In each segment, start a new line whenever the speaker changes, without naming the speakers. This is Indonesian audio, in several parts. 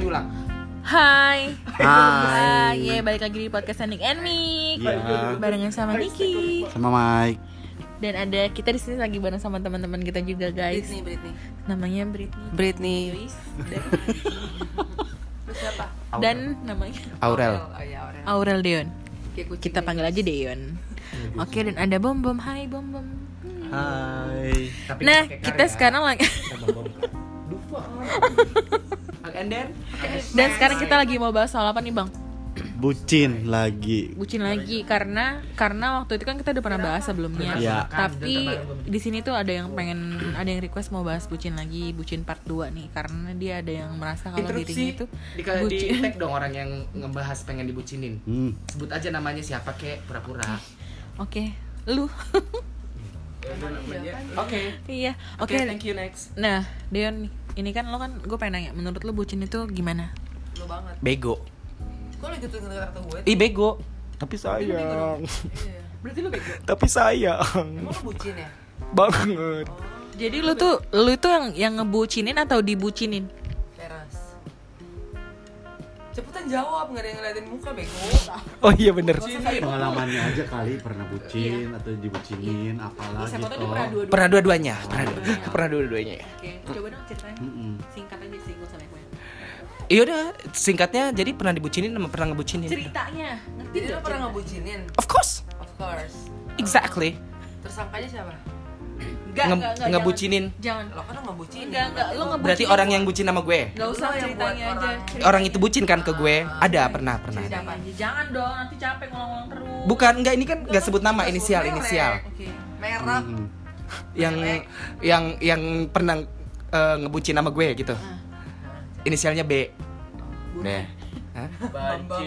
diulang.
Hai.
Hai.
Hai, ya balik lagi di podcast Nick and Mik.
Iya.
Barengan sama Niki.
Sama Mike.
Dan ada kita di sini lagi bareng sama teman-teman kita juga, guys.
Britney, Britney.
Namanya Britney.
Britney.
Joyce.
Terus siapa?
Dan namanya
Aurel.
Oh ya, Aurel.
Aurel Deon.
Kayak kucing
Kita
aja.
panggil aja Deon. Oke, dan ada Bom Bom. Hai, Bom Bom.
Hai.
Tapi
Nah,
pakai
kita
karya.
sekarang lagi
Kita bom-bom. Dupa. And then eh,
Nah,
dan sekarang kita lagi mau bahas soal apa nih, Bang?
Bucin lagi.
bucin lagi karena karena waktu itu kan kita udah pernah bahas sebelumnya
Iya.
tapi di sini tuh ada yang pengen ada yang request mau bahas bucin lagi bucin part 2 nih karena dia ada yang merasa kalau dirinya
interupsi
itu
di, di
bucin
tag dong orang yang ngebahas pengen dibucinin.
Hmm.
Sebut aja namanya siapa kek pura-pura.
oke lu
Oke.
iya oke
Oke, thank you next.
nah Deon ini kan lo kan gue pengen nanya menurut lo bucin itu gimana
Lu banget.
Bego.
Kok lu gitu ngedenger kata gue?
Ih bego.
Tapi sayang.
Iya. Berarti lu bego.
Tapi sayang.
Emang lu bucin ya?
Banget.
jadi lu tuh lu tuh yang yang ngebucinin atau dibucinin
Teras. Cepetan jawab, nggak ada yang ngeliatin muka, bego.
Oh iya bener.
pengalamannya aja kali pernah bucin atau dibucinin apalah
Siapa
gitu
tuh dia pernah dua-dua.
Pernah dua-duanya, pernah pernah dua-duanya.
oke coba dong ceritain
Mm-mm.
singkat aja sih gue sama
Iya udah, singkatnya jadi pernah dibucinin sama pernah ngebucinin.
ceritanya ngerti
Jadi lu pernah ngebucinin?
Of course.
Of course.
Exactly.
Tersangkanya siapa?
Enggak,
Nge-
enggak, enggak,
ngebucinin.
Jangan.
Lo kan nggak bucin.
Enggak, enggak, lu ngebucinin.
Berarti orang yang bucin sama gue.
Gak usah
Lu yang
ceritanya
buat
aja.
orang-
ceritanya.
Orang itu bucin kan ke gue? Ada, pernah, pernah.
Ceritanya aja. Jangan dong, nanti capek ngulang-ngulang terus.
Bukan, enggak ini kan enggak sebut nama, inisial,
Merek.
inisial.
Oke. Merek.
Hmm.
Mm-mm.
Yang yang yang pernah eh, ngebucin sama gue gitu. Inisialnya B.
Deh.
Hah?
Bambang.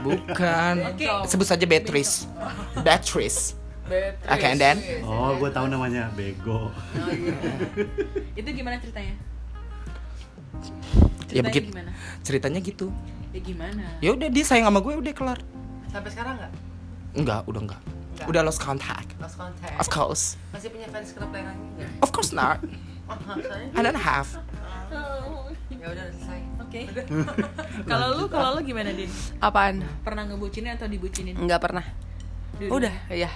Bukan.
Oke.
Sebut saja Beatrice. Beatrice.
Beatrice.
Oke, and then?
oh gue tahu namanya bego
Oh, iya.
Itu gimana ceritanya?
Ya begitu.
gimana?
Ceritanya gitu.
Ya gimana?
Ya udah dia sayang sama gue udah kelar.
Sampai sekarang nggak?
Enggak, udah enggak.
Enggak.
Udah lost contact.
Lost contact.
Of course.
Masih punya fans club yang lagi nggak?
Of course not.
Oh, soalnya
I don't have.
Oh,
ya udah udah selesai.
Oke. Kalau lu kalau lu gimana, Din?
Apaan?
Pernah ngebucinin atau dibucinin?
Nggak pernah.
Dulu.
Udah, iya.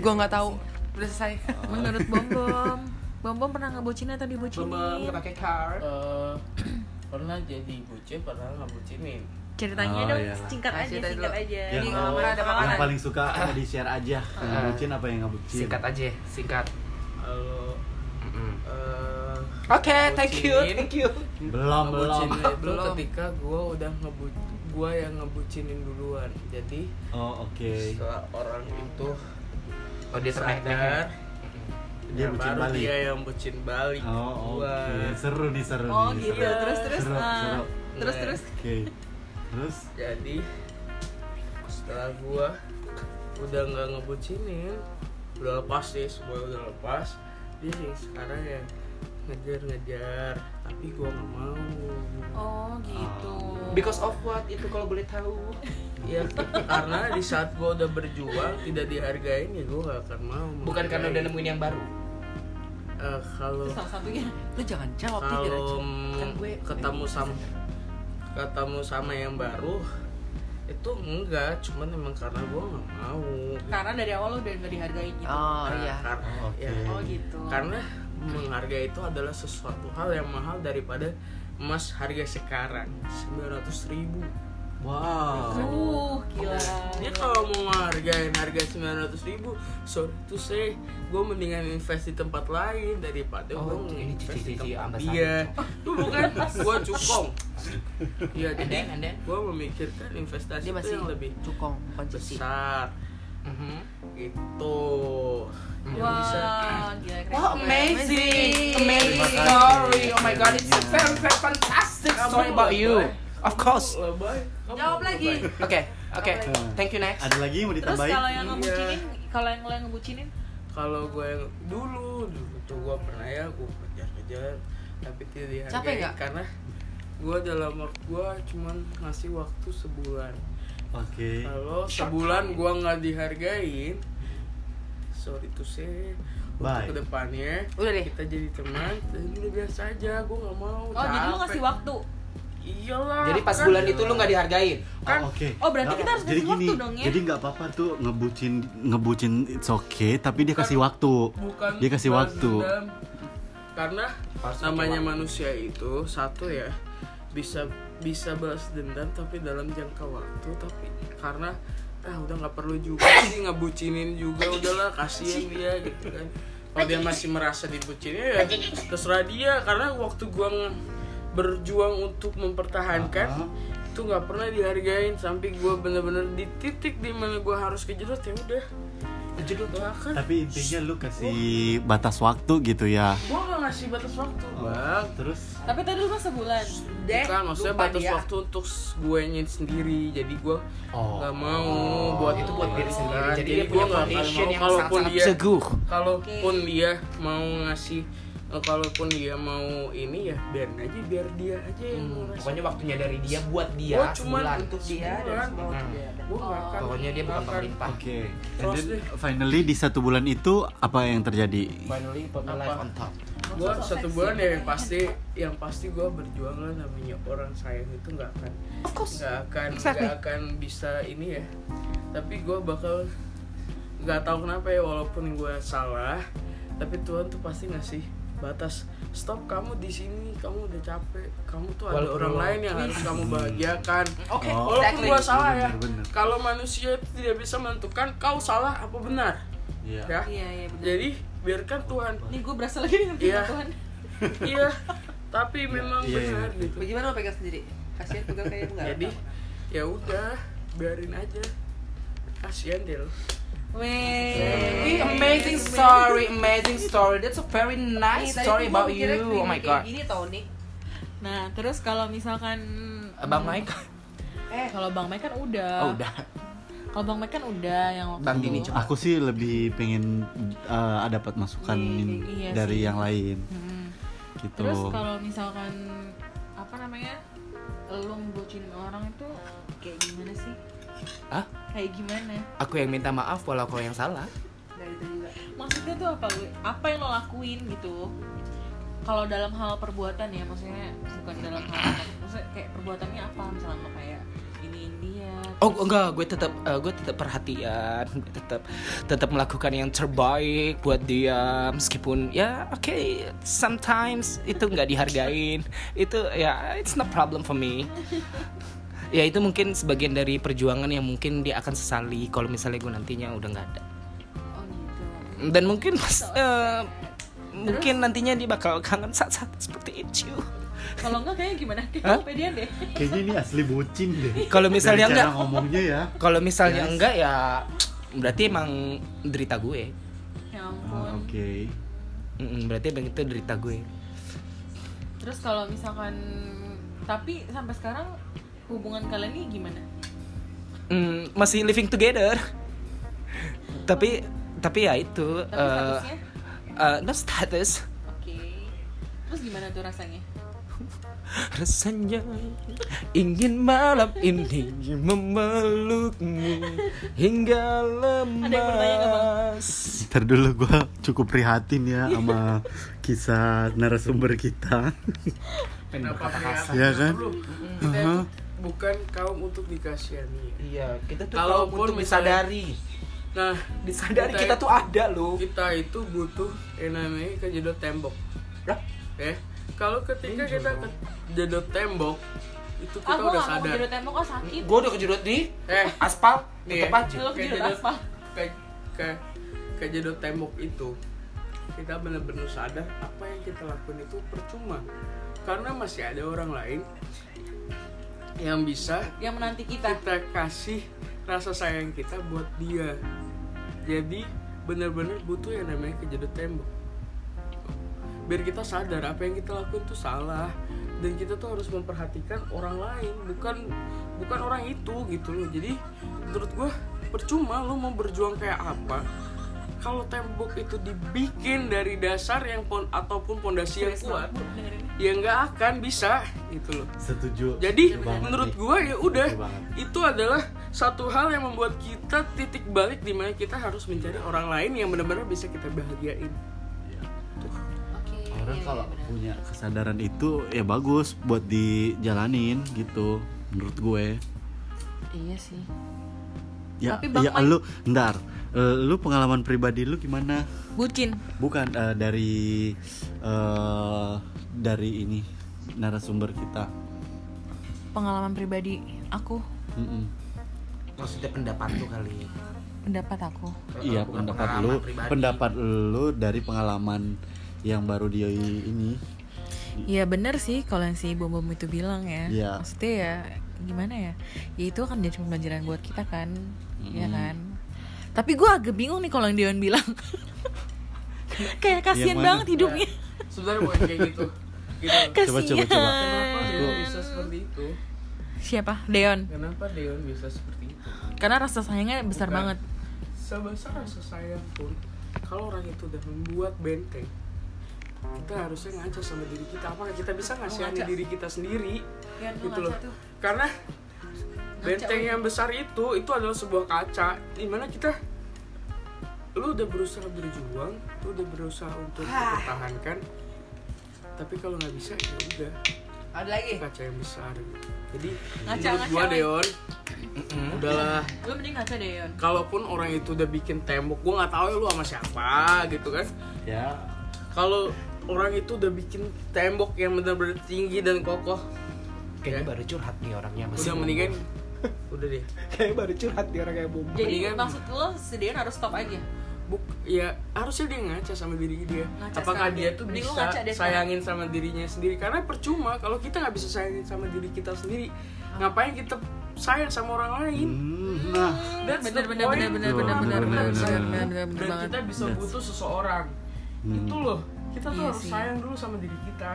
Gua nggak tahu. Udah selesai.
Menurut Bom Bom, Bom Bom pernah ngebucinin atau dibucinin?
eh, pakai car.
Eh, pernah jadi bucin pernah nggak bucinin
Ceritanya
Oh,
dong,
iyalah.
singkat
Nah,
aja,
ceritain
singkat
dulu.
aja.
yang,
Ini kamar ada
yang
makanan.
paling suka apa di share aja
Ah.
yang bucin apa yang nggak bucin
Singkat aja, singkat.
kalau eh,
Oke,
Bucin.
you.
belum belum
ngebucinin itu
Belum.
ketika gue udah ngebu gue yang ngebucinin duluan jadi
oh oke
setelah orang itu
Oh, dia
sadar
ternak-ternak.
Dia
ya
bucin
baru
balik.
dia yang bucin balik ke
oh oke
gua.
seru nih seru
Oh,
nih
gitu.
seru.
Terus terus.
seru,
ah.
seru.
Terus
Nah,
terus.
oke terus
jadi setelah gue udah nggak ngebucinin udah lepas sih semua udah lepas dia sih sekarang yang ngejar-ngejar tapi gue nggak mau
Oh, gitu.
Because of what itu kalau boleh tahu?
Ya karena di saat gue udah berjuang tidak dihargain ya gue gak akan mau.
Bukan karena udah
menghargai.
nemuin yang baru.
Eh, kalau
Salah satunya
Lu jangan jawab tidak
kalau
aja. Kan gue
ketemu sama ketemu sama yang baru itu enggak, cuman emang karena gue gak mau.
karena dari awal lo udah nggak dihargain gitu.
Oh
Nah,
iya.
Karena,
Oh, oke.
ya,
Oh gitu.
karena menghargai itu adalah sesuatu hal yang mahal daripada emas harga sekarang 900.000 ribu.
wow
Uh, gila.
Dia kalau mau hargain harga 900 ribu Sorry to say Gue mendingan invest di tempat lain Daripada
Oh,
gue
ini
invest di
cici-cici
tempat
ambasador.
dia Lu bukan, gue cukong Iya,
And
jadi
then, and then.
gue memikirkan
Iya,
Dia
investasi itu
masih
yang lebih
cukong bukan cici.
besar
Mhm.
Gitu Yang bisa
Wah, gila keren.
Wow, amazing, amazing
Terima kasih.
story. Oh my god, it's a very, very fantastic story about you. Of course. Oke,
lebay kamu
Jawab lagi.
lebay.
oke. Thank you next.
ada lagi yang mau
Terus
ditambahin
kalau yang
Iya.
ngebucinin, kalau yang lo yang ngebucinin,
Kalau gue yang dulu dulu tuh gue pernah ya gue kejar-kejar tapi tidak dihargai
Capek nggak?
karena gue dalam waktu gue cuman ngasih waktu sebulan
oke
kalau sebulan gue nggak dihargain sorry to say
Bye.
untuk kedepannya
Udah deh.
kita jadi teman dan udah biasa aja gue nggak mau
oh jadi lo
capek.
ngasih waktu.
iyalah
Jadi pas
kan-
bulan itu lu nggak dihargain.
Kan-
Oh, oke.
Oh, berarti kita harus
jadi
kasih waktu
gini,
dong ya?
Jadi nggak apa-apa tuh ngebucin ngebucin it's okay, tapi
Kan
dia kasih waktu.
bukan
dia kasih
balas
waktu.
dendam. karena namanya manusia itu satu ya bisa bisa balas dendam tapi dalam jangka waktu tapi karena ah udah nggak perlu juga sih ngebucinin juga udahlah kasihan dia gitu kan kalau dia masih merasa dibucinin ya terserah dia karena waktu gua nge- berjuang untuk mempertahankan itu nggak pernah dihargain sampai gua bener-bener di titik dimana gua harus kejedot ya udah kejedot lah kan
Tapi intinya lu kasih batas waktu gitu ya.
gua gak ngasih batas waktu Eh, bang
Terus
Tapi tadi lu kan sebulan.
Deh,
bukan kan? maksudnya
lupa
batas
dia.
waktu untuk gue sendiri jadi gue
Oh.
nggak mau buat Iya,
Itu buat diri sendiri. Jadi dia
gue
punya foundation yang
kalaupun
sangat-sangat
dia
teguh.
kalaupun dia mau ngasih eh, kalaupun dia mau ini ya biarin aja biar dia aja yang ngerasa.
Hmm, Pokoknya waktunya dari dia buat dia
Gua Oh, cuman
sebulan. Hmm.
untuk dia dan gue nggak akan
Pokoknya dia bukan
nggak akan-
pemerintah.
Oke. And
Terus
then,
deh.
finally di satu bulan itu apa yang terjadi?
Finally, put my life on top.
gue satu bulan ya yang pasti yang pasti gue berjuang lah namanya orang sayang itu nggak akan nggak akan nggak akan bisa ini ya tapi gue bakal nggak tahu kenapa ya walaupun gue salah tapi Tuhan tuh pasti ngasih batas stop kamu di sini kamu udah capek kamu tuh ada
Walaupun
orang
lo-
lain yang harus kamu bahagiakan
Oke,
Oh.
walaupun
exactly.
gue salah ya
Bener-bener.
kalau manusia itu tidak bisa menentukan kau salah apa benar ya
Iya, iya benar.
jadi biarkan Tuhan
Ini gue berasa lagi dengan
Iya.
firman Tuhan.
iya tapi memang
Iya, iya.
benar gitu
Bagaimana lo pegang sendiri? Kasihan pegang kayak enggak.
jadi ya udah biarin aja kasihan deh lo.
Weh.
amazing story, amazing story. That's a very nice story about you. Oh my god.
Ini tau nih.
Nah, terus kalau misalkan
Bang Mike.
Eh,
kalau Bang Mike kan udah.
Oh, udah.
Kalau Bang Mike kan udah yang waktu
Bang Dini
itu.
coba.
Aku sih lebih pengen eh, dapat masukan
Iya, iya
dari
sih.
yang lain
Mm-mm.
gitu.
Terus kalau misalkan apa namanya? Lu ngebucin orang itu kayak gimana sih?
Hah?
Kayak gana?
Aku yang minta maaf walau kau yang salah.
dari itu juga.
Maksudnya tuh apa? Wi? Apa yang lo lakuin gitu? Kalau dalam hal perbuatan ya, maksudnya bukan dalam hal maksudnya kayak perbuatannya apa misalnya lo kayak ini ya, dia.
Oh enggak, gue tetap eh, gue tetap perhatian, gue tetap tetap melakukan yang terbaik buat dia meskipun ya oke sometimes itu nggak dihargain itu ya it's not problem for me. ya itu mungkin sebagian dari perjuangan yang mungkin dia akan sesali kalau misalnya gue nantinya udah nggak ada
Oh gitu.
dan mungkin pas eh, mungkin nantinya dia bakal kangen saat-saat seperti itu.
Kalau enggak kayaknya gimana? Kayak
Hah?
kepedean deh.
Kayaknya ini asli bucin deh.
Kalau
Dari
misalnya enggak,
cara ngomongnya ya.
kalau misalnya enggak ya berarti emang derita gue.
Ya
Ah,
ampun.
Oke.
Mm-mm, berarti emang itu derita gue.
Terus kalau misalkan tapi sampai sekarang hubungan kalian ini gimana?
Mm, masih living together. tapi tapi ya itu.
Tapi
eh,
statusnya?
eh, no status.
Oke. Terus gimana tuh rasanya?
Rasanya ingin malam ini memelukmu hingga
Ada yang bertanya nggak,
lemas.
Ntar dulu gue cukup prihatin ya sama kisah narasumber kita
kenapa prihatin
Iya kan?
dulu? kita itu bukan kaum untuk dikasihani ya.
Iya, kita tuh kalau
Kalaupun
untuk
misalnya-
disadari,
nah
disadari kita tuh ada loh.
kita itu butuh yang namanya kejedot tembok
Lah?
ya kalau ketika kita kejedot tembok itu
Ah,
kita
gue
udah
gak mau
sadar
kejedot tembok, oh sakit
Gue udah kejedot di
eh
aspal,
Iya.
tetep aja.
Lo kejedot
Kejedot.
apa?
kayak kayak kejedot tembok itu kita benar-benar sadar apa yang kita lakukan itu percuma karena masih ada orang lain yang bisa
Yang menanti kita
kita kasih rasa sayang kita buat dia jadi benar-benar butuh yang namanya kejedot tembok biar kita sadar apa yang kita lakuin itu salah dan kita tuh harus memperhatikan orang lain bukan bukan orang itu gitu loh jadi menurut gue percuma lo mau berjuang kayak apa kalau tembok itu dibikin dari dasar yang pon ataupun pondasi yang kuat ya nggak akan bisa gitu loh
Setuju
jadi
Setuju banget
menurut
nih.
gua ya udah
Setuju banget.
itu adalah satu hal yang membuat kita titik balik di mana kita harus mencari orang lain yang benar-benar bisa kita bahagiain.
Oke
Orang
iya,
Kan kalau
benar.
punya kesadaran itu ya bagus buat dijalanin gitu menurut gue
Iya sih.
ya
Tapi Bang
ya
Mike-
lu ntar Eh, lu pengalaman pribadi lu gimana
Bucin.
bukan eh, dari eh, dari ini narasumber kita
Pengalaman pribadi aku,
Mm-mm.
maksudnya pendapat lu kali
pendapat aku.
iya
Bukan
pendapat lu
pengalaman pribadi.
pendapat lu dari pengalaman yang baru dia ini
Iya bener sih kalau yang si Bom Bom itu bilang ya.
Iya.
Maksudnya ya gimana ya? Ya itu akan jadi pembelajaran buat kita kan, Iya kan. Tapi gue agak bingung nih kalau yang Dion bilang. Kayak kasihan
mana?
banget hidupnya.
Ya, sebenarnya bukan kayak gitu gitu
Coba, coba, coba.
Kasihan.
kenapa Deon bisa seperti itu
Siapa? Deon.
kenapa Deon bisa seperti itu
Karena rasa sayangnya besar
Bukan.
banget.
sebesar rasa sayang pun kalau orang itu udah membuat benteng kita harusnya ngaca sama diri kita apakah kita bisa ngasihani
ngaca.
diri kita sendiri
Yan, lu
gitu
ngaca
loh
tuh.
karena benteng yang besar itu itu adalah sebuah kaca dimana kita lu udah berusaha berjuang lu udah berusaha untuk mempertahankan tapi kalau nggak bisa ya udah
Ada lagi.
itu kaca yang besar jadi
Ngaca,
menurut
ngaca,
gua
Wan.
Deon udahlah
Gue mending ngaca Deon.
kalaupun orang itu udah bikin tembok gua nggak tahu ya lu sama siapa gitu kan
ya
kalau orang itu udah bikin tembok yang benar-benar tinggi dan kokoh
kayaknya
Ya.
baru curhat nih orangnya masih
udah mendingan udah deh
Kayak baru curhat dia orang kayak bom.
Jadi
Mendingan-
maksud lo si Deon harus stop aja.
Buk, ya harusnya dia ngaca sama diri dia
Ngaca
apakah
sekarang.
dia tuh
Mending lu
bisa
ngaca deh sekarang.
sayangin sama dirinya sendiri karena percuma kalau kita nggak bisa sayangin sama diri kita sendiri ngapain kita sayang sama orang lain
Hmm, nah
That's
bener,
the
bener,
point.
bener, bener, bener,
Bener,
bener,
bener,
bener,
bener,
bener,
bener.
bener, bener
dan
banget.
kita bisa
That's-
butuh seseorang
Hmm.
itu loh kita tuh
Iya
harus
sih.
sayang dulu sama diri kita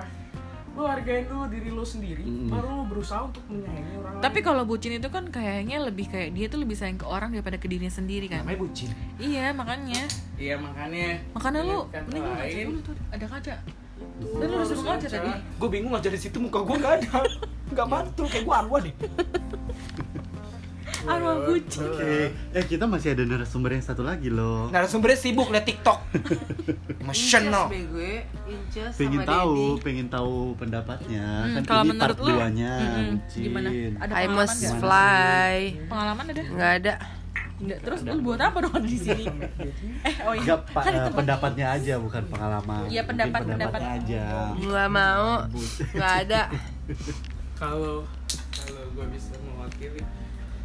lu hargain dulu diri lu sendiri
Mm-mm.
baru lu berusaha untuk menyayangi orang
Tapi
lain
kalau bucin itu kan kayaknya lebih kayak dia tuh lebih sayang ke orang daripada ke dirinya sendiri kan.
namanya bucin
Iya, makanya.
iya makanya
Makanya lu
Dengan kata
mending lu ngaca
lain,
dulu tuh. Ada kaca.
itu
Dan lu disuruh Iya, kan, ngaca tadi.
gue bingung aja di situ muka gue nggak ada nggak mantul kayak gue arwah deh
Arwah bucin.
oke eh kita masih ada narasumber yang satu lagi loh
Nah,
narasumbernya sibuk liat tiktok emotional
Inces
Iya,
bego, ya. Inces
pengen
sama
tahu
Dedi.
pengen tahu pendapatnya
Hmm,
kan
kalau
ini
menurut
part
lu,
duanya
mm-mm,
Cin.
gimana? Ada
I
pengalaman
must
nggak?
fly.
Pengalaman ada?
Enggak ada.
Enggak. Terus lu buat apa dong di sini? eh, oh iya.
Enggak, pa-
Kan di tempat-
pendapatnya aja bukan pengalaman.
Iya,
Mungkin
pendapat-
pendapatnya
pendapat.
aja.
Gua mau. Enggak ada.
kalau kalau gue bisa mewakili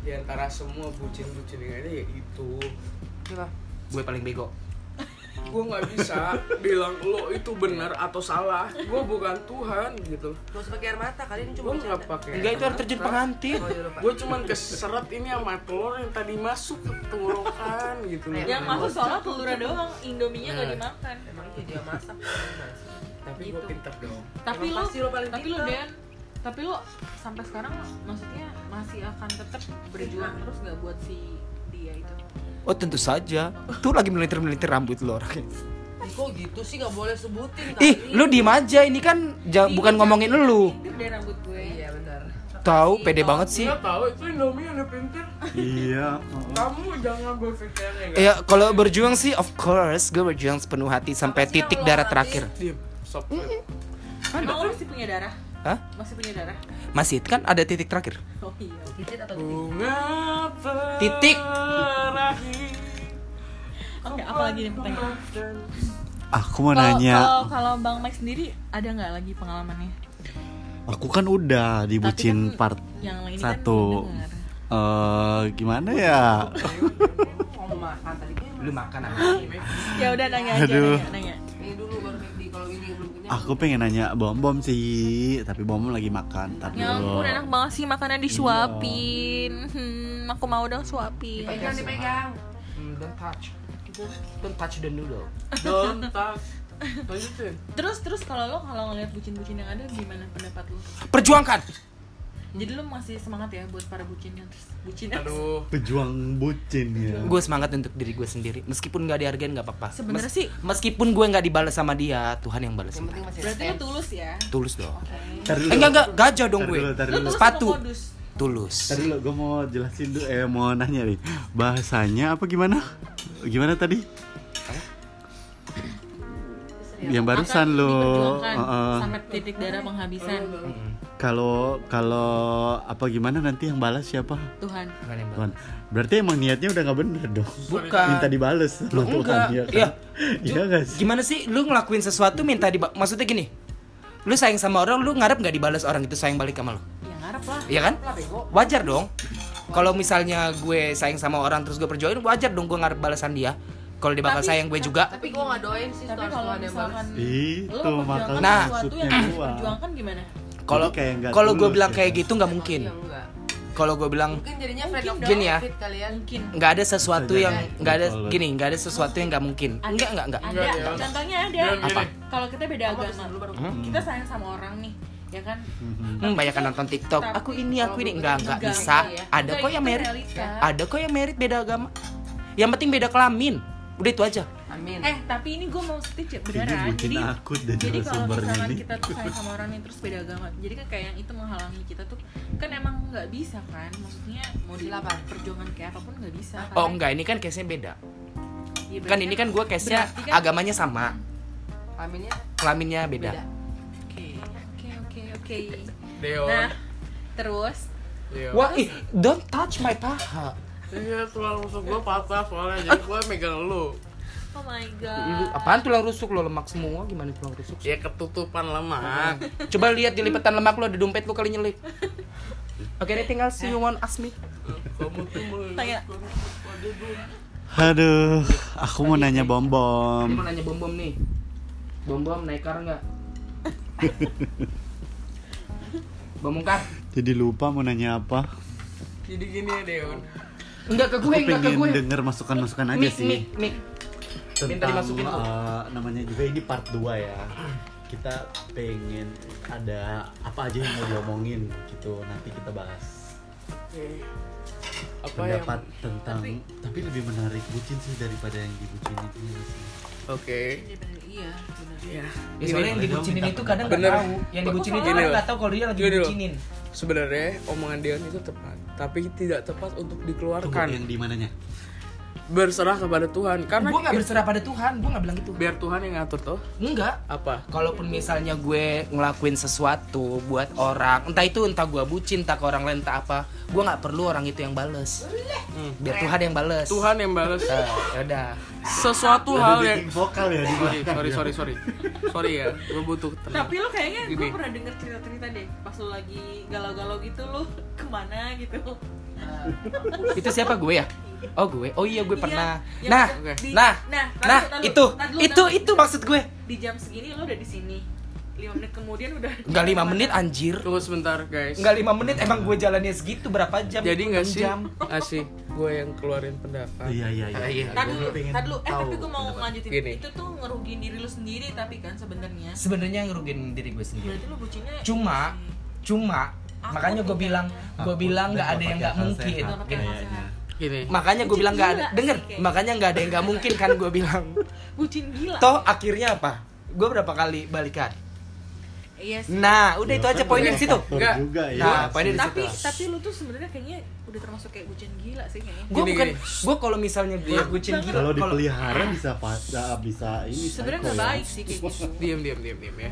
di antara semua bucin-bucin yang ada ya itu
Coba.
gue paling bego
gue nggak bisa bilang lo itu benar atau salah gue bukan Tuhan gitu
Gak usah pakai air mata kali ini
gue
cuma
nggak
bercanda.
pakai
enggak itu air terjun pengantin
Oh, iya lupa.
gue cuman keseret ini sama telur yang tadi masuk ke tenggorokan gitu loh.
Yang masuk soalnya telurnya doang, indominya nggak
Nah.
dimakan.
Emang iya dia masak.
tapi
Gitu.
gue pintar dong
Tapi
Emang
lu,
pasti lu paling
tapi lu
pintar.
Dan, tapi lu sampai sekarang maksudnya masih akan tetap berjuang
Iya.
terus nggak buat si dia itu.
oh tentu saja tuh lagi melintir melintir rambut lo orangnya
Ih, Kok gitu sih nggak boleh sebutin kali.
ih lu diem aja ini kan
Eh,
ja- bukan ngomongin lu
Pintir deh rambut gue.
Iya benar.
tahu pede banget sih
Iya tahu itu Indomie ada pintar
Iya. oh.
kamu jangan berpikirnya enggak
Ya kalau berjuang sih of course gue berjuang sepenuh hati
sih
sampai
yang
titik
lo
darah
nanti?
terakhir.
diem stop
Emang
kan?
lu masih punya darah?
Hah?
Masih punya darah?
Masih kan ada titik terakhir.
Oh iya.
Titit atau titik?
bunga
Titik.
berakhir
Oke, apa lagi nih pertanyaan?
Aku mau
Kalau-
nanya.
kalau- Kalau Bang Mike sendiri ada nggak lagi pengalamannya?
Aku kan udah dibucin
Tapi kan
part
yang ini kan
satu.
udah dengar.
Eh, gimana ya?
Mau makan tadi kan.
Lu makan apa?
Ya udah nanya aja
Aduh.
nanya, nanya.
Ini dulu baru McD kalau ini belum kenyang.
Ah.
Aku pengen nanya bom bom sih, tapi bom Bom lagi makan. Tapi
Ya ampun enak banget sih makanan disuapin.
Iya.
Hmm, aku mau dong suapin.
Pegang dipegang.
Hmm, Don't touch. Don't touch the noodle.
don't touch lanjutin
Terus terus kalau lo kalau ngeliat bucin-bucin yang ada gimana pendapat lo?
Perjuangkan.
Jadi lo masih semangat ya buat para bucin yang terus bucin.
aduh
Pejuang bucin ya.
Gue semangat untuk diri gue sendiri. Meskipun gak dihargain gak apa-apa.
Sebenarnya
Mes-
sih-
Meskipun gue nggak dibalas sama dia, Tuhan yang balas.
Yang penting masih
Berarti lo tulus ya.
Tulus dong.
Ntar
Eh,
dulu.
enggak enggak gajah dong
Ntar
gue.
dulu, ntar
Lo tulus
Sepatu.
sama modus.
Tulus.
Ntar dulu, gue mau jelasin dulu, eh mau nanya nih Bahasanya apa gimana? Gimana tadi? yang barusan lo eh,
diperjuangkan
Heeh.
sampai titik darah penghabisan
kalau kalau apa gimana nanti yang balas siapa
Tuhan
Bukan yang
Tuhan berarti emang niatnya udah nggak bener dong
Bukan.
minta dibales sama
Lu enggak.
Tuhan ya kan?
Iya.
iya nggak sih
Gimana sih lu ngelakuin sesuatu minta di maksudnya gini. Lu sayang sama orang, lu ngarep nggak dibalas orang itu sayang balik sama lu.
ya ngarep lah
Iya kan? Wajar dong. Kalau misalnya gue sayang sama orang terus gue perjuangin, wajar dong gue ngarep balasan dia. Kalau dia bakal
Tapi-
sayang gue juga.
Tapi gue nggak doain sih
tapi
harus
kalau
Tuhan yang
misalkan
balas.
lo
itu
memperjuangkan
makanya
sesuatu
maksudnya
yang harus
gua.
diperjuangkan gimana
Kalau
Jadi kayak nggak
kalau gue
tulus
bilang
ya
kayak
kan?
gitu nggak mungkin.
Yang enggak.
Kalau gue bilang
Mungkin jadinya friend of
Gini ya.
benefit kalian.
mungkin
nggak ada sesuatu
Bisa
yang
jadi.
nggak ada
Betul.
gini, nggak ada sesuatu yang nggak mungkin.
Ada.
Enggak enggak enggak.
ada
Enggak, Dewas.
contohnya ada
Jangan gini.
Apa?
kalau kita beda agama
Hmm?
kita sayang sama orang nih ya kan
Hmm, banyak yang nonton TikTok.
Tapi
Aku ini, aku ini enggak enggak
enggak,
bisa.
iya.
Ada
Enggak,
kok yang
itu
merit.
realita.
Ada kok yang merit beda agama. Yang penting beda kelamin. Udah itu aja.
Amin.
eh tapi ini gue mau setuju beneran
Kayaknya bikin
jadi
aku deh
jadi kalau
narasumbernya
misalkan
nih.
kita tuh sayang sama orang yang terus beda agama jadi kan kayak yang itu menghalangi kita tuh kan emang nggak bisa kan maksudnya mau dilapan perjuangan kayak apapun nggak bisa
Oh enggak, ini kan case-nya beda.
Ya,
Kan ini kan gue case-nya
berarti kan-
agamanya sama,
Aminnya
kelaminnya beda.
beda.
oke oke oke oke
Deon Iya.
nah terus
Deon
Wah, ih, don't touch my paha.
Iya tulang rusuk gue patah soalnya jadi gue megang lu
oh my
Lu
god
apaan tulang rusuk lo lemak semua? Gimana tulang rusuk? sih?
Ya ketutupan lemak
Coba lihat di lipetan lemak lo ada dompet lo kali nyelip. Oke, anything else you want ask me?
Kamu tuh mau-
Tanya.
aduh aku mau nanya bom bom
Ini mau nanya bom bom nih. Bom bom naik kar nggak? bom Bom, kar?
jadi lupa mau nanya apa
Jadi gini ya Deon
Enggak ke
aku
gue, enggak ke
pengen
gue.
denger masukan masukan aja
Mik,
sih
mik, mik. Minta
tentang
dimasukin tuh.
eh, namanya juga ini part 2 ya kita pengen ada apa aja yang mau diomongin gitu nanti kita bahas
Apa yang
pendapat tentang tapi, lebih menarik bucin sih daripada yang dibucin itu ya sih.
Oke
Iya, bener, iya bener.
Ya, soalnya yang
Gini,
dibucinin
minta
itu kadang nggak
pendapat.
tahu. Yang dibucinin itu
Gini
kadang
loh.
nggak tahu kalau dia lagi
Gini loh.
dibucinin.
Sebenarnya omongan Deon itu tepat Tapi tidak tepat untuk
Tunggu, yang
dikeluarkan
di mananya
Berserah kepada Tuhan Karena
Gue nggak berserah pada Tuhan, gue nggak bilang gitu.
biar Tuhan yang ngatur tuh
Enggak.
Apa?
Kalaupun misalnya gue ngelakuin sesuatu buat orang, entah itu entah gue bucin, entah ke orang lain, entah apa, gue nggak perlu orang itu yang bales. Biar Tuhan yang bales.
Tuhan yang balas
Nah, yaudah.
sesuatu
Ada
hal yang
backing vokal ya di
sorry
Iya.
belakang.
sorry sorry sorry sorry ya gue butuh tenang
Tapi lo kayaknya gue
Gini.
pernah denger cerita-cerita deh Pas lo lagi galau-galau gitu lo kemana gitu
Itu siapa gue ya? Oh gue. Oh iya gue
Iya,
pernah.
yang
Nah,
Oke.
di-
nah,
nah, tahan
nah,
dulu, tahan
itu,
dulu, tahan dulu,
itu,
tahan dulu.
itu maksud gue.
Di jam segini lo udah di sini 5 menit kemudian udah
Enggak lima menit anjir.
tunggu sebentar guys
Enggak lima menit emang gue jalannya segitu berapa jam?
jadi nggak
Enam
sih
jam.
asih gue yang keluarin pendapat
iya iya iya
Ah, iya.
Tahan dulu,
Gua pengen
tahan dulu. Eh
tahu
tapi gue mau
pendapat.
ngelanjutin
Gini.
Itu tuh ngerugiin diri lo sendiri tapi kan sebenarnya
Sebenarnya ngerugiin diri gue sendiri.
Berarti lo bucinnya
Cuma, cuma
Aku
makanya gue
tuh
bilang,
kayaknya.
gue
Aku
bilang nggak
udah
ada
Ah, pakai
yang nggak
hal
mungkin.
sehat
Gak pakai hal
kayaknya.
gini
makanya gue bilang nggak ada
Gila sih,
denger
kayaknya.
makanya nggak ada yang nggak mungkin kan gue bilang
bucin gila
toh akhirnya apa gue berapa kali balikan
Iya sih
nah udah itu
Ya,
aja
kan
poinnya
ada
di situ
faktor
Enggak.
juga ya
Nah, poinnya di
tapi
situ.
tapi lu tuh sebenarnya kayaknya udah termasuk kayak bucin gila sih kayaknya.
gue
Gini,
bukan
gini. Iya.
gue kalau misalnya gue bucin
kalau
gila kalau
dipelihara bisa bisa, bisa ini
Sebenarnya
psycho
nggak
ya.
baik sih kayak gitu.
diam diam diam diam ya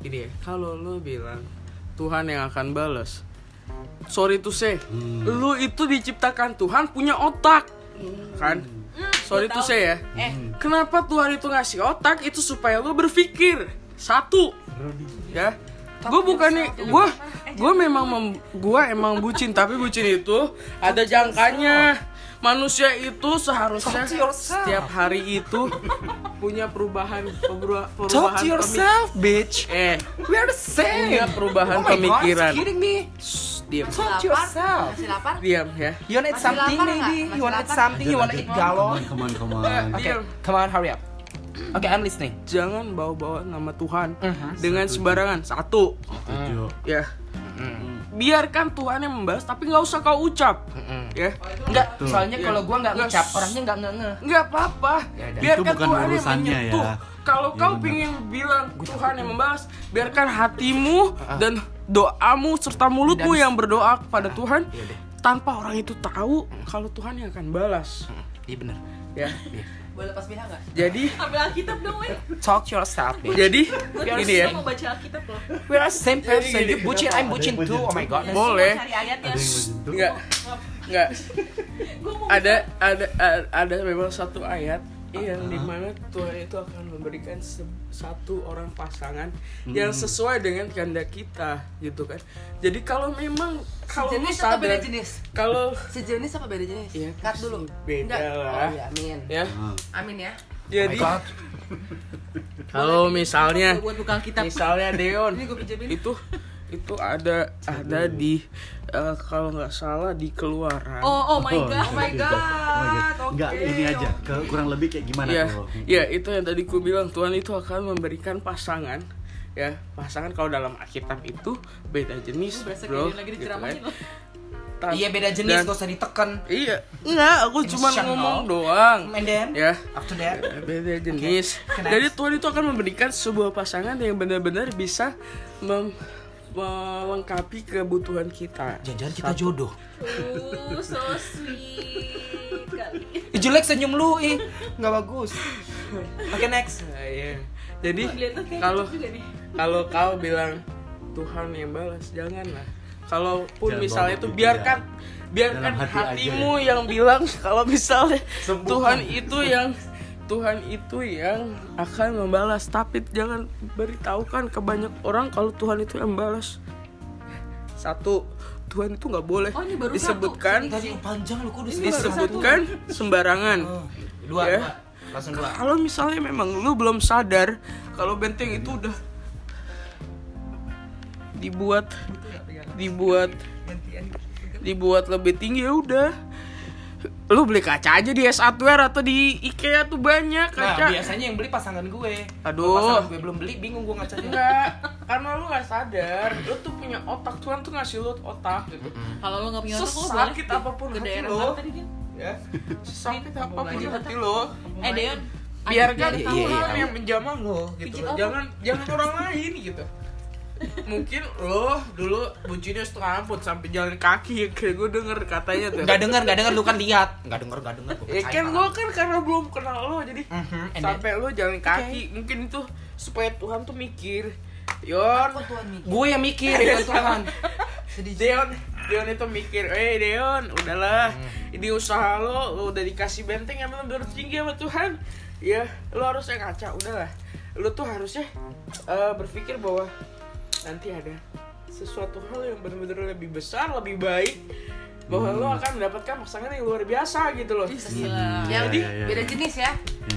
gini ya kalau lo bilang Tuhan yang akan balas sorry to say lo itu diciptakan Tuhan punya otak kan sorry
gua
to
tahu.
say ya
Eh,
Kenapa Tuhan itu ngasih otak itu supaya lo berpikir satu, ya? Gue bukannya gue gue memang mem- gua emang bucin tapi bucin itu ada jangkanya. Manusia itu seharusnya
Talk to yourself.
setiap hari itu punya perubahan perubahan,
talk
perubahan
to
pemik-
yourself bitch
Eh,
we are the same
Punya perubahan
Oh my God,
pemikiran.
you kidding me
shh, diam
talk to yourself
Masih lapar?
diam ya.
you wanna eat
Masih
something
lapar nggak?
maybe
Masih
you wanna eat
lapar?
something
Iya,
you wanna eat galon
Come on, come on, come on.
oke
Deal.
come on hurry up oke I'm listening
Jangan bawa-bawa nama Tuhan
Mhm.
dengan sembarangan satu,
Ah.
Setuju.
ya.
Mhm.
Biarkan Tuhan yang membahas tapi nggak usah kau ucap, ya.
Enggak, soalnya
Iya.
kalau gue nggak
Nggak.
ngucap, orangnya nggak nge nge.
nggak apa-apa
Ya udah.
biarkan
Itu bukan
Tuhan yang
urusannya
menyentuh
ya.
kalau
Iya,
kau
benar.
pingin bilang Tuhan yang membahas biarkan hatimu
Ah.
dan doamu serta mulutmu yang berdoa kepada Tuhan
Ya,
Iya deh.
Mhm.
tanpa orang itu tahu kalau Tuhan yang akan balas
Iya bener.
ya
Boleh lepas bilang nggak?
Jadi
Ambil Alkitab dong, weh.
Talk yourself, bitch.
jadi
Biar
ini ya.
semua mau baca Alkitab loh.
We are
Iya,
same person.
Jadi
You bucin, I'm
kenapa
bucin
ada yang
too. Oh my
Ya,
god.
semua
Boleh.
Cari ayatnya.
Ada yang menyentuh.
Enggak, enggak.
Gue mau
Ada ada ada- ada memang satu ayat yang dimana Tuhan itu akan memberikan se- satu orang pasangan yang
Hmm.
sesuai dengan kehendak kita gitu kan. Jadi kalau memang kalau lu
Sejenis atau beda
sadar
jenis?
kalau
Sejenis apa beda jenis?
Iya,
Cut dulu.
beda
Enggak.
lah.
Oh, iya, amin.
ya
Ah.
Amin ya.
jadi kalau misalnya
buat buka Alkitab.
misalnya Deon
Ini gue pinjemin.
itu itu ada ada di eh, kalau nggak salah di keluaran
Oh, oh my god.
Oh my god. Enggak, ini aja. Ke- Kurang lebih kayak gimana
ya
kalau-
ya itu yang tadi ku bilang Tuhan itu akan memberikan pasangan ya pasangan kalau dalam Alkitab itu beda jenis
Berasa
bro
kayak lagi
gitu
diceramahin
kan.
loh.
Ta-
Iya beda jenis,
dan-
gak usah diteken.
iya enggak aku cuma
Insya
ngomong
Allah.
doang
And then,
ya
after that,
beda jenis.
Oke,
Jadi Tuhan itu akan memberikan sebuah pasangan yang benar-benar bisa mem- melengkapi kebutuhan kita.
jangan kita jodoh.
Uh, so sweet kali.
Ih, Jelek senyum lu, ih. Nggak bagus. Oke, next.
Nah, iya. Jadi
Kelihatan kayak
kalau
gitu juga nih.
kalau kau bilang Tuhan yang balas, janganlah. Kalaupun
Jangan
misalnya
bawa
itu
gitu,
biarkan biarkan
Dalam hati
hatimu
aja. ya.
yang bilang kalau misalnya
Sembuhkan.
Tuhan itu yang Tuhan itu yang akan membalas, tapi jangan beritahukan ke banyak orang kalau Tuhan itu yang membalas. Satu, Tuhan itu nggak boleh
Oh, ini baru
disebutkan
Tadi panjang lu kok udah
disebutkan sembarangan.
Oh, Dua,
Ya.
dua. Langsung dua.
Kalau misalnya memang lu belum sadar kalau benteng itu udah dibuat dibuat dibuat lebih tinggi ya udah lu beli kaca aja di S Hardware atau di IKEA tuh banyak
Nah,
kaca
biasanya yang beli pasangan gue.
Aduh.
Kalau Pasangan gue belum beli, bingung gue ngacanya.
enggak karena lu nggak sadar lu tuh punya otak Tuhan tuh ngasih lu otak gitu
Kalau lo nggak punya Iya, otak, lo boleh
sesakit apapun
ke
hati
daerah
lo
mana tadi dia?
ya sesakit apapun hati lo
Eh, Deon.
biarkan
Iya,
Tuhan
iya, iya.
yang menjamah lo gitu
Pijit apa?
jangan jangan orang lain gitu mungkin lo dulu bucinnya setengah ampun sampai jalan kaki kayak gue denger katanya tuh
Gak denger, gak denger, lu kan lihat. Gak denger, gak denger.
ya kan gue kan karena belum kenal lo jadi
Mhm, and
sampai lo jalan kaki mungkin itu supaya Tuhan tuh mikir Yon
Kok Tuhan mikir?
Gue yang mikir, bukan Tuhan.
Sedih.
Deon Deon itu mikir eh Deon udahlah ini usaha lo lo udah dikasih benteng yang benar tinggi sama Tuhan ya lo harusnya ngaca udahlah lo tuh harusnya eh, berpikir bahwa nanti ada sesuatu hal yang benar-benar lebih besar lebih baik bahwa lo akan mendapatkan pasangan yang luar biasa gitu loh
Gila.
Yang
Iya, iya, iya.
beda jenis ya.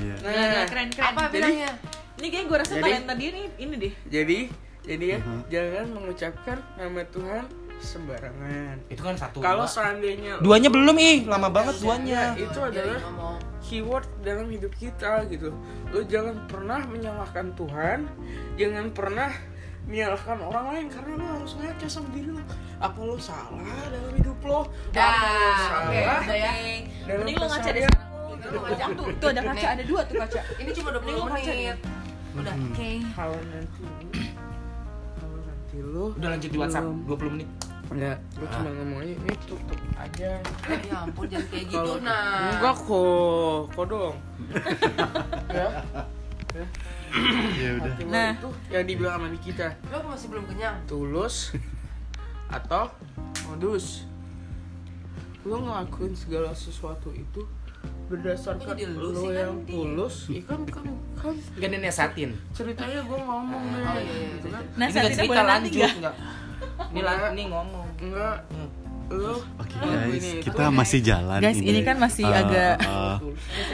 Iya.
Gila, gila,
nah
keren keren.
Apa
Jadi-
bilangnya?
Ini kayak gue rasa
Jadi-
talenta dia nih ini deh.
jadi jadi ya
Mhm.
jangan mengucapkan nama Tuhan sembarangan
Itu kan satu.
kalau
dua.
seandainya
duanya belum ih, lama
Iya,
banget
Iya,
duanya.
itu
Jadi
adalah
ngomong.
keyword dalam hidup kita gitu lo jangan pernah menyalahkan Tuhan jangan pernah menyalahkan orang lain karena lo harus ngaca sama diri lo apa lo salah dalam hidup lo
Dah,
apa lo
oke,
salah
udah ya.
dalam
Mending lo ngaca deh
kesalahan?
sekarang.
Itu lo ngaca.
Tuh, tuh ada kaca, ada dua tuh kaca.
Ini cuma 20
Mending lo ngaca
menit. Udah.
Hmm.
Oke.
kalau nanti kalau nanti lo
iya.
Udah lanjut di WhatsApp Ah. 20 menit.
enggak gue cuma ngomong aja ini tutup aja
Ya ampun, jangan kayak gitu.
Ah.
Kalau-
Nah.
enggak kok kok dong ya
Ya udah.
hati lo
Nah.
itu yang dibilang sama kita
Lo masih belum kenyang.
tulus atau modus lo ngelakuin segala sesuatu itu berdasarkan
Kok jadi lu
lo
sih, kan,
yang
Di?
tulus ikan kan kan
Gak ada nasihatin.
ceritanya gue ngomong deh
Oh, iya, iya,
gitu
iya.
kan
Nah,
Ini
saat
gak
ini
cerita
boleh nanti
lanjut
nggak?
enggak. Ini lan- ini ngomong.
enggak lo
Oke
Ini,
guys,
ini,
kita masih jalan
Guys, ini kan masih
Eh,
agak-
eh,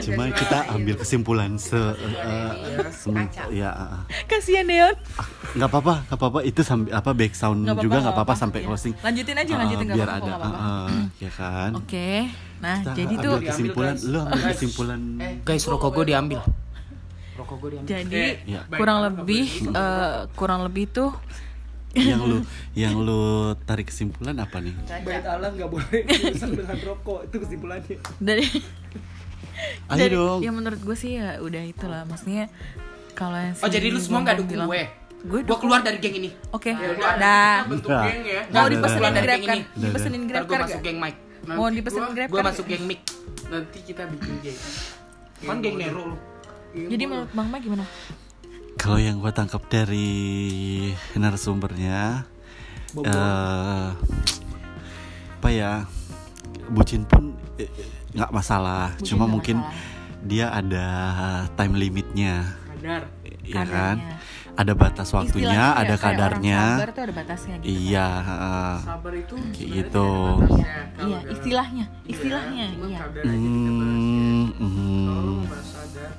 cuma kita ambil kesimpulan se eh, eh, semen-
Kaca.
ya eh, eh.
Kasihan Deon.
Hmm,
nggak apa-apa nggak apa-apa itu sambil apa back sound
Nggak apa-apa,
juga
nggak
nggak apa-apa
apa-apa,
sampai
iya.
closing
Lanjutin aja,
Ah,
Eh,
lanjutin, nggak
biar
apa-apa,
ada
nggak
eh,
apa-apa.
eh, ya kan
Oke. Nah,
Kita
jadi
ambil
tuh
kesimpulan
Diambil,
lu ambil
guys.
kesimpulan
Guys, rokok gue diambil. Rokok gue diambil.
Eh,
jadi
Iya.
ya.
kurang lebih eh, kurang lebih tuh
yang lu yang lu tarik kesimpulan apa nih
Baik Allah nggak boleh urusan dengan rokok itu kesimpulannya.
dari
ayo
dari
dong
ya menurut gue sih ya udah itulah maksudnya kalau yang
Oh, jadi lu semua
nggak
gak dukung gue.
Gue
Gue keluar Ya dari geng ini.
Oke,
udah.
dah.
bentuk
Nah.
geng
Nah.
ya
Mau
Udah,
dipesenin
udah, udah.
grab kan?
Yang
ini.
Dipesenin grab
Ntar gue
car
masuk
gak?
geng Mike.
Nanti
Mau dipesenin
gua-
grab kan?
Gue
car
masuk
nggak?
geng Mic.
nanti kita bikin geng
Kan geng Nero lu.
Jadi menurut Bang Ma gimana?
Kalau yang gue tangkap dari narasumbernya, eh, apa ya, bucin pun eh, nggak masalah.
Bucin
Cuma
nggak
mungkin
masalah.
dia ada time limitnya,
Kadar.
ya
Kadarnya.
kan? Ada batas waktunya, ada
Istilahnya kayak- kayak orang
kadarnya.
Sabar tuh ada batasnya gitu.
Iya, heeh.
Sabar itu sebenarnya
gitu.
ada
Iya,
batasnya. Kalau
iya,
dalam-
istilahnya,
Iya,
istilahnya,
cuma
iya.
kadar aja kita bahasnya.
Hmm,
Kalau lu
hmm.
mau bahas sadar,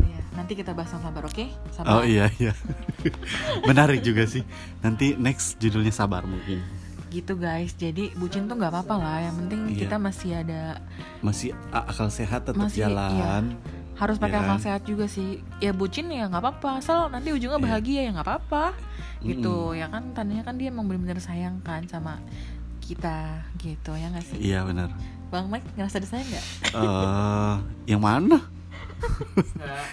Iya, nanti kita bahas tentang sabar, oke? Sabar.
Oh iya iya, menarik juga sih. Nanti next judulnya sabar mungkin.
Gitu guys, jadi bucin tuh nggak apa-apa lah. Yang penting
Iya.
kita masih ada,
Masih a- akal sehat tetap
Masih, iya.
jalan.
harus
Iya
pakai
kan?
akal sehat juga sih. Ya bucin ya nggak apa-apa, asal nanti ujungnya
Iya.
bahagia ya nggak apa-apa. Gitu,
Mm-mm.
ya kan? Tandanya kan dia emang bener-bener sayang kan sama kita, gitu ya nggak sih?
Iya benar.
Bang Mike ngerasa disayang nggak?
eh yang mana?
nah,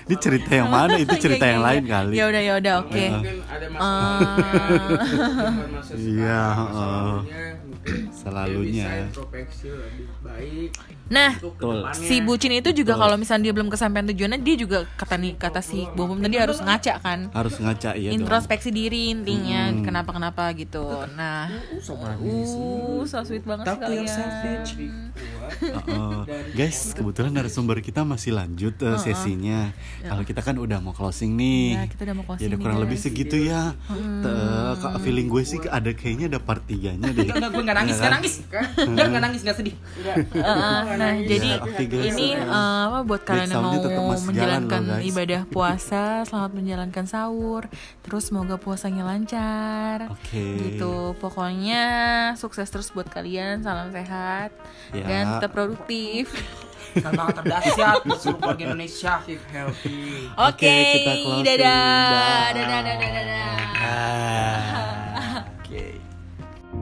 Ini cerita yang mana? Itu cerita
Iya,
yang
iya,
lain
iya.
kali.
Ya udah ya udah, oke.
Iya.
Mungkin ada masalah.
Eh,
Bukan masa sekarang,
Iya,
masa
heeh.
lalunya, mungkin
Selalunya. ya.
dia bisa introspeksi lebih baik
nah,
untuk
Betul.
kedepannya.
si bucin itu juga
Betul.
kalau misalnya dia belum kesampaian tujuannya dia juga kata nih kata si Bobo tadi harus ngaca kan
Harus ngaca ya dong.
introspeksi diri intinya
Hmm.
kenapa kenapa gitu nah uh so sweet banget
Tapi yang
sekalian
savage.
Heeh. guys, kebetulan narasumber kita masih lanjut eh, sesinya. Kalau kita kan udah mau closing nih.
Ya, kita udah mau
Ya
closing
udah kurang
nih,
lebih
guys.
segitu ya. Te- kok feeling gue sih ada kayaknya ada part 3-nya deh. Iya kan?
Enggak, gue nggak nangis, nggak nangis. Enggak, nggak nangis, nggak sedih.
Heeh, nah jadi
Ya, oke, guys.
ini eh, apa buat kalian yang
soundnya
mau
tetap masih jalan
menjalankan
loh, guys.
ibadah puasa selamat menjalankan sahur terus semoga puasanya lancar
Oke.
gitu pokoknya sukses terus buat kalian salam sehat
Ya.
dan tetap produktif
Tantangan terdahsyat buat seluruh warga Indonesia.
keep healthy
Oke,
kita closing.
dadah.
Dah.
Dadah, dadah, dadah, dadah.
Dah. Oke.